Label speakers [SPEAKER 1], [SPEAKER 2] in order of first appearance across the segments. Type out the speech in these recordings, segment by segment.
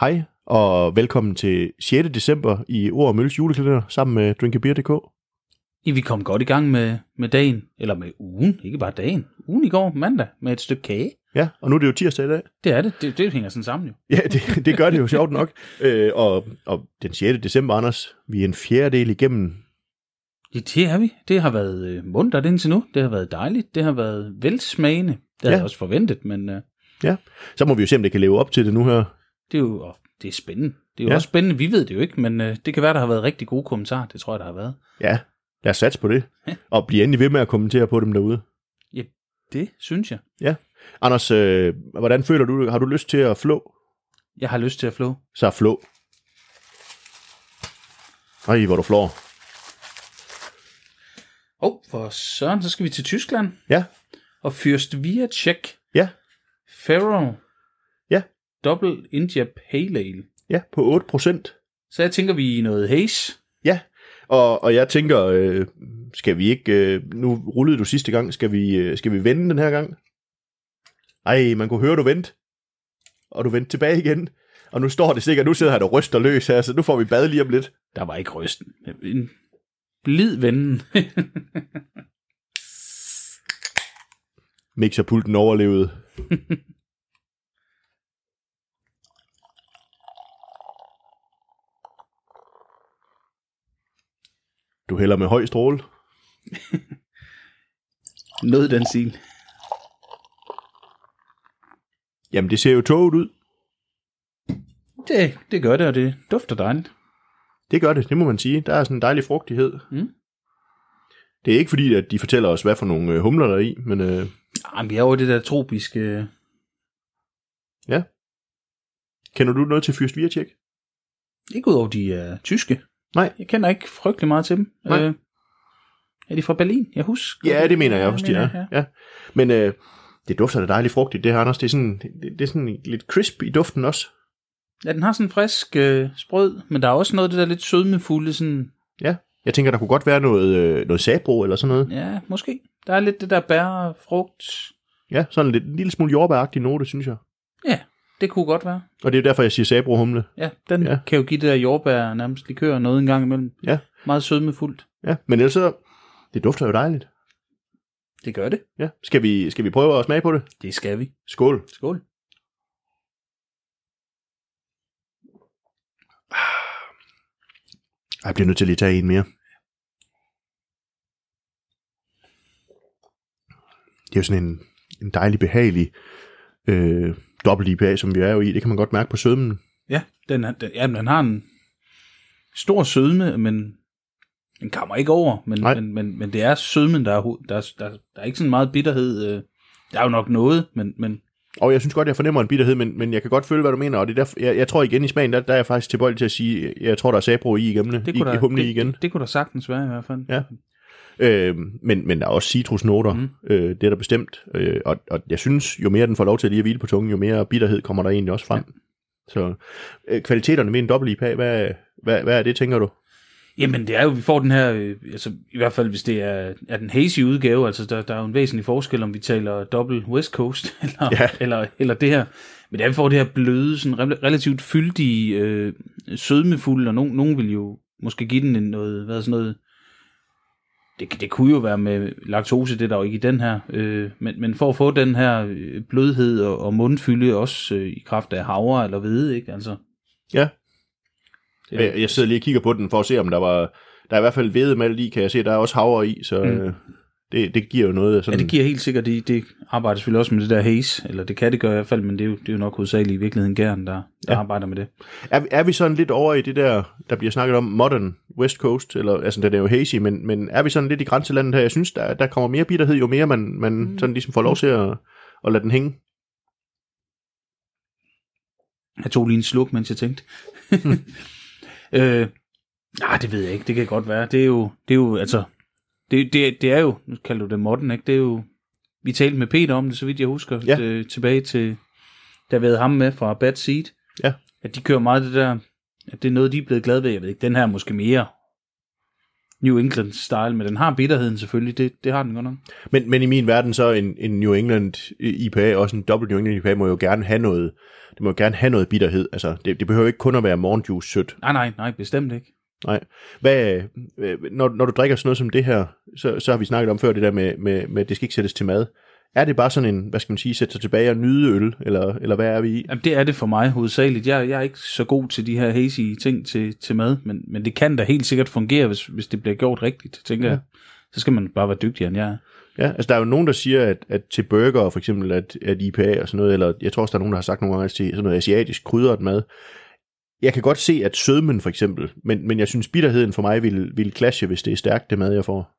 [SPEAKER 1] Hej, og velkommen til 6. december i Ord og Mølles julekalender sammen med drinkabeer.dk.
[SPEAKER 2] Ja, vi kom godt i gang med, med dagen, eller med ugen, ikke bare dagen. Ugen i går, mandag, med et stykke kage.
[SPEAKER 1] Ja, og nu er det jo tirsdag i dag.
[SPEAKER 2] Det er det. Det, det hænger sådan sammen jo.
[SPEAKER 1] Ja, det, det gør det jo sjovt nok. Øh, og, og den 6. december, Anders, vi er en fjerdedel igennem.
[SPEAKER 2] Ja, det er vi. Det har været øh, mundt indtil nu. Det har været dejligt. Det har været velsmagende. Det havde
[SPEAKER 1] Ja.
[SPEAKER 2] jeg også forventet, men øh,
[SPEAKER 1] Ja, så må vi jo se, om det kan leve op til det nu her.
[SPEAKER 2] det er jo og det er spændende. Det er jo
[SPEAKER 1] Ja.
[SPEAKER 2] ja. også spændende. Vi ved det jo ikke, men øh, det kan være, der har været rigtig gode kommentarer. Det tror jeg, der har været.
[SPEAKER 1] Ja, lad os satse på det. Og blive endelig ved med at kommentere på dem derude.
[SPEAKER 2] Det synes jeg.
[SPEAKER 1] Anders, øh, hvordan føler du, har du lyst til at flå?
[SPEAKER 2] Jeg har lyst til at flå.
[SPEAKER 1] Så flå. Ej, hvor du flår.
[SPEAKER 2] Åh, oh, for søren, så skal vi til Tyskland.
[SPEAKER 1] Ja,
[SPEAKER 2] Og Fyrst Viacek
[SPEAKER 1] ja,
[SPEAKER 2] Ferrell
[SPEAKER 1] Ja.
[SPEAKER 2] Double India Pale Ale.
[SPEAKER 1] ja, på 8 procent.
[SPEAKER 2] Så jeg tænker, vi er i noget haze.
[SPEAKER 1] Ja, og, og jeg tænker, øh, skal vi ikke, øh, nu rullede du sidste gang, skal vi, øh, skal vi vende den her gang? Ej, man kunne høre, du vendte, og du vendte tilbage igen, og nu står det sikkert, nu sidder han og ryster løs her, så nu får vi bad lige om lidt.
[SPEAKER 2] Der var ikke rysten. En blid vennen.
[SPEAKER 1] Mixerpulten overlevede. Du hælder med høj stråle.
[SPEAKER 2] Noget den stil.
[SPEAKER 1] Jamen, det ser jo toget ud.
[SPEAKER 2] Det, det gør det, og det dufter dejligt.
[SPEAKER 1] Det gør det, det må man sige. Der er sådan en dejlig frugtighed.
[SPEAKER 2] Mm.
[SPEAKER 1] Det er ikke fordi, at de fortæller os, hvad for nogle øh, humler der er i, men øh,
[SPEAKER 2] Ah, men vi er jo i det der tropiske...
[SPEAKER 1] kender du noget til Fyrst Virtjek?
[SPEAKER 2] Ikke udover de uh, tyske.
[SPEAKER 1] Nej.
[SPEAKER 2] Jeg kender ikke frygtelig meget til dem.
[SPEAKER 1] Nej.
[SPEAKER 2] Øh, er de fra Berlin? Jeg husker.
[SPEAKER 1] Ja, det mener jeg også, de
[SPEAKER 2] mener
[SPEAKER 1] er.
[SPEAKER 2] jeg,
[SPEAKER 1] Ja. Men øh, det dufter da dejligt frugtigt, det her, Anders. Det er sådan, det, det er sådan lidt crisp i duften også.
[SPEAKER 2] Ja, den har sådan en frisk øh, sprød, men der er også noget af det der lidt sødmefulde, sådan...
[SPEAKER 1] Ja. Jeg tænker, der kunne godt være noget, øh, noget sabro eller sådan noget.
[SPEAKER 2] Ja, måske. Der er lidt det der bær, frugt...
[SPEAKER 1] Ja, sådan lidt, en lille smule jordbæragtig note, synes jeg.
[SPEAKER 2] Ja, det kunne godt være.
[SPEAKER 1] Og det er jo derfor, jeg siger sabrohumle.
[SPEAKER 2] Ja, den
[SPEAKER 1] Ja.
[SPEAKER 2] ja. kan jo give det der jordbær nærmest likør noget en gang imellem.
[SPEAKER 1] Ja.
[SPEAKER 2] Meget sødmefuldt.
[SPEAKER 1] Ja, men ellers så, det dufter jo dejligt.
[SPEAKER 2] Det gør det.
[SPEAKER 1] Ja. Skal, vi, skal vi prøve at smage på det?
[SPEAKER 2] Det skal vi.
[SPEAKER 1] Skål.
[SPEAKER 2] Skål.
[SPEAKER 1] Ej, Jeg bliver nødt til at lige tage en mere. Det er jo sådan en, en dejlig, behagelig øh, dobbelt IPA, som vi er jo i. Det kan man godt mærke på sødmen.
[SPEAKER 2] Ja, den, er- den, ja, men den har en stor sødme, men den kommer ikke over. Men,
[SPEAKER 1] Nej.
[SPEAKER 2] men, men, men det er sødmen, der er, ho- der, er- der, der er ikke sådan meget bitterhed. øh. Der er jo nok noget, men, men
[SPEAKER 1] Og jeg synes godt, jeg fornemmer en bitterhed, men, men jeg kan godt føle, hvad du mener. Og det er derfor, jeg, jeg tror igen i smagen, der, der er jeg faktisk tilbøjelig til at sige, jeg tror, der er sabro i igennem det.
[SPEAKER 2] det
[SPEAKER 1] I,
[SPEAKER 2] kunne,
[SPEAKER 1] i
[SPEAKER 2] der,
[SPEAKER 1] humle i
[SPEAKER 2] det,
[SPEAKER 1] igen.
[SPEAKER 2] det, det kunne der sagtens være i hvert fald.
[SPEAKER 1] Ja. Øh, men, men der er også citrusnoter, mm.
[SPEAKER 2] Mm.
[SPEAKER 1] øh, det er der bestemt. Øh, og, og jeg synes, jo mere den får lov til at lige at hvile på tungen, jo mere bitterhed kommer der egentlig også frem. Ja. Så øh, kvaliteterne ved en dobbelt IPA, hvad, hvad, hvad er det, tænker du?
[SPEAKER 2] Jamen det er jo, vi får den her, øh, altså i hvert fald hvis det er, er den hazy udgave, altså der, der er jo en væsentlig forskel, om vi taler dobbelt West Coast, eller,
[SPEAKER 1] Ja.
[SPEAKER 2] ja. eller, eller det her. Men det er, vi får det her bløde, sådan rel- relativt fyldige, øh, sødmefulde, og nogen, nogen vil jo måske give den en noget, hvad er sådan noget, det, det kunne jo være med laktose, det er der jo ikke i den her, øh, men, men for at få den her øh, blødhed og, og mundfylde, også øh, i kraft af havre eller hvede, ikke? Altså,
[SPEAKER 1] Ja.
[SPEAKER 2] Det er-
[SPEAKER 1] Jeg, jeg sidder lige og kigger på den for at se, om der var... Der er i hvert fald vedemalt i, kan jeg se. Der er også havre i, så
[SPEAKER 2] Mm.
[SPEAKER 1] mm. det, det giver jo noget. af Sådan,
[SPEAKER 2] Ja, det giver helt sikkert, det, det arbejder selvfølgelig også med det der haze, eller det kan det gøre i hvert fald, men det er jo, det er jo nok hovedsageligt i virkeligheden Gern, der, der
[SPEAKER 1] Ja.
[SPEAKER 2] ja. arbejder med det.
[SPEAKER 1] Er, vi- er vi sådan lidt over i det der, der bliver snakket om, modern West Coast, eller altså den er jo hazy, men, men er vi sådan lidt i grænselandet her? Jeg synes, der, der kommer mere bitterhed, jo mere man, man mm. sådan ligesom får lov til at, at lade den hænge.
[SPEAKER 2] Jeg tog lige en sluk, mens jeg tænkte. øh, nej, det ved jeg ikke, det kan godt være. Det er jo, det er jo altså, det, det, det er jo, nu kalder du det modden, ikke? Det er jo, vi talte med Peter om det, så vidt jeg husker,
[SPEAKER 1] Ja.
[SPEAKER 2] øh, tilbage til, der været ham med fra Bad Seed,
[SPEAKER 1] Ja.
[SPEAKER 2] at de kører meget det der, at det er noget, de er blevet glade ved. Jeg ved ikke, den her er måske mere New England style, men den har bitterheden selvfølgelig, det, det har den godt nok.
[SPEAKER 1] Men, men i min verden så en, en New England IPA, også en dobbelt New England IPA, må jo gerne have noget, det må jo gerne have noget bitterhed. Altså, det, det behøver ikke kun at være morgenjuice sødt.
[SPEAKER 2] Nej, nej, nej, bestemt ikke.
[SPEAKER 1] Nej. Hvad, øh, når, når du drikker sådan noget som det her, så, så har vi snakket om før det der med, med, med, at det skal ikke sættes til mad. Er det bare sådan en, hvad skal man sige, sætte sig tilbage og nyde øl, eller, eller hvad er vi i?
[SPEAKER 2] Jamen, det er det for mig hovedsageligt. Jeg, jeg er ikke så god til de her hazy ting til, til mad, men, men det kan da helt sikkert fungere, hvis, hvis det bliver gjort rigtigt, tænker ja. jeg. Så skal man bare være dygtigere end jeg er.
[SPEAKER 1] Ja, altså der er jo nogen, der siger, at, at til burger for eksempel, at, at IPA og sådan noget, eller jeg tror også, der er nogen, der har sagt nogle gange at til sådan noget asiatisk krydret mad. Jeg kan godt se, at sødmen for eksempel, men, men jeg synes bitterheden for mig ville, ville clashe, hvis det er stærkt, det mad, jeg får.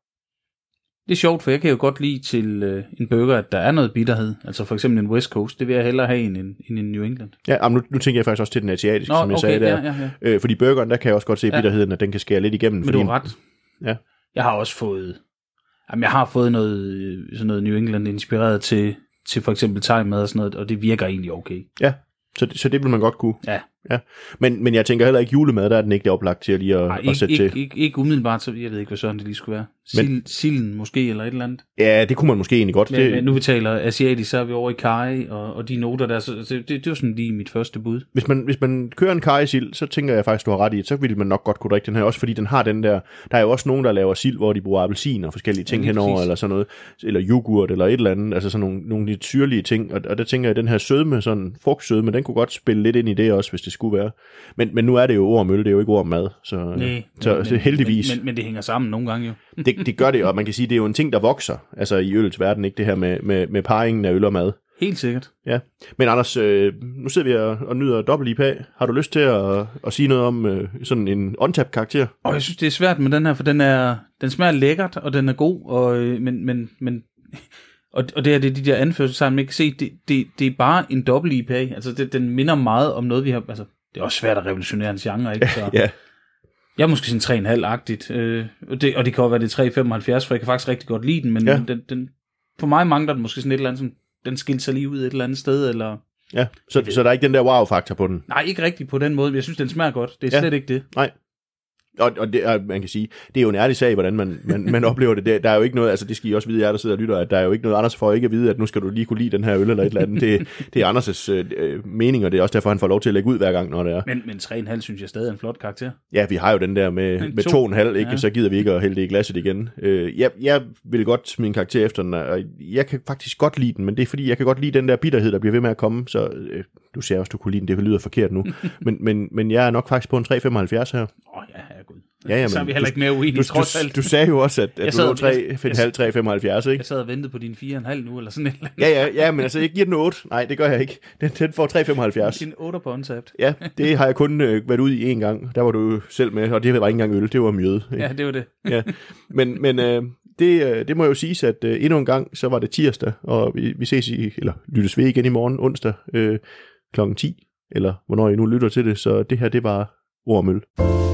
[SPEAKER 2] Det er sjovt, for jeg kan jo godt lide til øh, en burger, at der er noget bitterhed. Altså for eksempel en West Coast, det vil jeg hellere have end en, end en New England.
[SPEAKER 1] Ja, jamen, nu, nu tænker jeg faktisk også til den asiatiske,
[SPEAKER 2] Nå,
[SPEAKER 1] som jeg
[SPEAKER 2] okay,
[SPEAKER 1] sagde der.
[SPEAKER 2] ja, ja, ja.
[SPEAKER 1] Øh, fordi burgeren, der kan jeg også godt se
[SPEAKER 2] Ja.
[SPEAKER 1] bitterheden, at den kan skære lidt igennem.
[SPEAKER 2] Men
[SPEAKER 1] fordi,
[SPEAKER 2] du har ret.
[SPEAKER 1] Ja.
[SPEAKER 2] Jeg har også fået, jamen jeg har fået noget, øh, sådan noget New England inspireret til, til for eksempel thai-mad og sådan noget, og det virker egentlig okay.
[SPEAKER 1] Så, det- så det vil man godt kunne.
[SPEAKER 2] Ja.
[SPEAKER 1] ja. Men, men jeg tænker heller ikke julemad, der er den ikke oplagt til at lige at,
[SPEAKER 2] Nej,
[SPEAKER 1] at
[SPEAKER 2] ikke,
[SPEAKER 1] sætte til.
[SPEAKER 2] ikke, ikke, ikke umiddelbart, så jeg ved ikke, hvad sådan det lige skulle være. Sild, men, silden måske, eller et eller andet.
[SPEAKER 1] Ja, det kunne man måske egentlig godt.
[SPEAKER 2] Men, det,
[SPEAKER 1] det,
[SPEAKER 2] men nu vi taler asiatisk, så er vi over i Kai, og, og de noter der, så så det, det, det var sådan lige mit første bud.
[SPEAKER 1] hvis, man, hvis man kører en karisild, så tænker jeg faktisk, du har ret i, at så ville man nok godt kunne drikke den her. Også fordi den har den der... Der er jo også nogen, der laver sild, hvor de bruger appelsin og forskellige ting
[SPEAKER 2] lige
[SPEAKER 1] henover,
[SPEAKER 2] præcis.
[SPEAKER 1] eller sådan noget. Eller yoghurt, eller et eller andet. Altså sådan nogle, nogle lidt syrlige ting. Og, og der tænker jeg, at den her sødme, sådan frugtsødme, den kunne godt spille lidt ind i det også, hvis det skulle være. Men, men nu er det jo ord om øl, det er jo ikke ord om mad. Så,
[SPEAKER 2] Næ,
[SPEAKER 1] så, så heldigvis.
[SPEAKER 2] Men, men, men det hænger sammen nogle gange jo.
[SPEAKER 1] det, det gør det, og man kan sige, det er jo en ting, der vokser, altså i øllets verden, ikke det her med, med, med parringen af øl og mad.
[SPEAKER 2] Helt sikkert.
[SPEAKER 1] Ja. Men Anders, øh, nu sidder vi og, og nyder dobbelt IPA. Har du lyst til at, at sige noget om øh, sådan en untapped karakter?
[SPEAKER 2] Og jeg synes, det er svært med den her, for den, er, den smager lækkert, og den er god, og, øh, men, men, men, og, og det her, det er de der anførselstegn, man kan se, det, det, det er bare en dobbelt IPA. Altså, det, den minder meget om noget, vi har... Altså, det er også svært at revolutionere en genre, ikke? Så,
[SPEAKER 1] Ja.
[SPEAKER 2] Jeg er måske sådan 3,5-agtigt, øh, og, det, og det kan jo være, det er 3,75, for jeg kan faktisk rigtig godt lide den, men
[SPEAKER 1] Ja.
[SPEAKER 2] ja. den, den, for mig mangler den måske sådan et eller andet, sådan, den skilte sig lige ud et eller andet sted, eller...
[SPEAKER 1] ja. Så, så der er ikke den der wow-faktor på den.
[SPEAKER 2] Nej, ikke rigtigt på den måde, men jeg synes, den smager godt. Det
[SPEAKER 1] Ja.
[SPEAKER 2] er ja. slet ikke det.
[SPEAKER 1] Og, og det, er, man kan sige, det er jo en ærlig sag, hvordan man, man, man oplever det. Der, der er jo ikke noget, altså det skal I også vide, jer der sidder og lytter, at der er jo ikke noget, Anders får ikke at vide, at nu skal du lige kunne lide den her øl eller et eller andet. Det, det er Anders' øh, øh, mening, og det er også derfor, han får lov til at lægge ud hver gang, når det er.
[SPEAKER 2] Men, men 3,5 synes jeg stadig er en flot karakter.
[SPEAKER 1] Ja, vi har jo den der med,
[SPEAKER 2] Men
[SPEAKER 1] med
[SPEAKER 2] to.
[SPEAKER 1] to og en halv, ikke? Ja.
[SPEAKER 2] Ja.
[SPEAKER 1] så gider vi ikke at hælde det i glasset igen. Øh, jeg, jeg vil godt smide en karakter efter den, og jeg kan faktisk godt lide den, men det er fordi, jeg kan godt lide den der bitterhed, der bliver ved med at komme, så øh, du ser også, du kunne lide den, det lyder forkert nu, men, men, men jeg er nok faktisk på en 3,75 her.
[SPEAKER 2] Åh, ja, herregud.
[SPEAKER 1] Ja, jamen,
[SPEAKER 2] så er vi
[SPEAKER 1] du-
[SPEAKER 2] heller ikke mere uenige,
[SPEAKER 1] Du,
[SPEAKER 2] trods alt.
[SPEAKER 1] du, du sagde jo også, at,
[SPEAKER 2] Jeg
[SPEAKER 1] at du
[SPEAKER 2] sad-
[SPEAKER 1] lå
[SPEAKER 2] jeg-
[SPEAKER 1] 3,5-3,75, ikke?
[SPEAKER 2] Jeg sad og ventede på din 4,5 nu, eller sådan et eller andet.
[SPEAKER 1] Ja, ja, ja, men altså, jeg giver den 8. Nej, det gør jeg ikke. Den, den får 3,75.
[SPEAKER 2] Din 8 på untapped.
[SPEAKER 1] Ja, det har jeg kun øh, været ud i en gang. Der var du jo selv med, og det var ikke engang øl, det var mjøde. Ikke?
[SPEAKER 2] Ja, det var det.
[SPEAKER 1] ja. Men, men øh, det, øh, det må jo siges, at øh, endnu en gang, så var det tirsdag, og vi, vi ses i, eller lyttes ved igen i morgen onsdag øh, kl. 10, eller hvornår I nu lytter til det, så det her, det var Ormøl.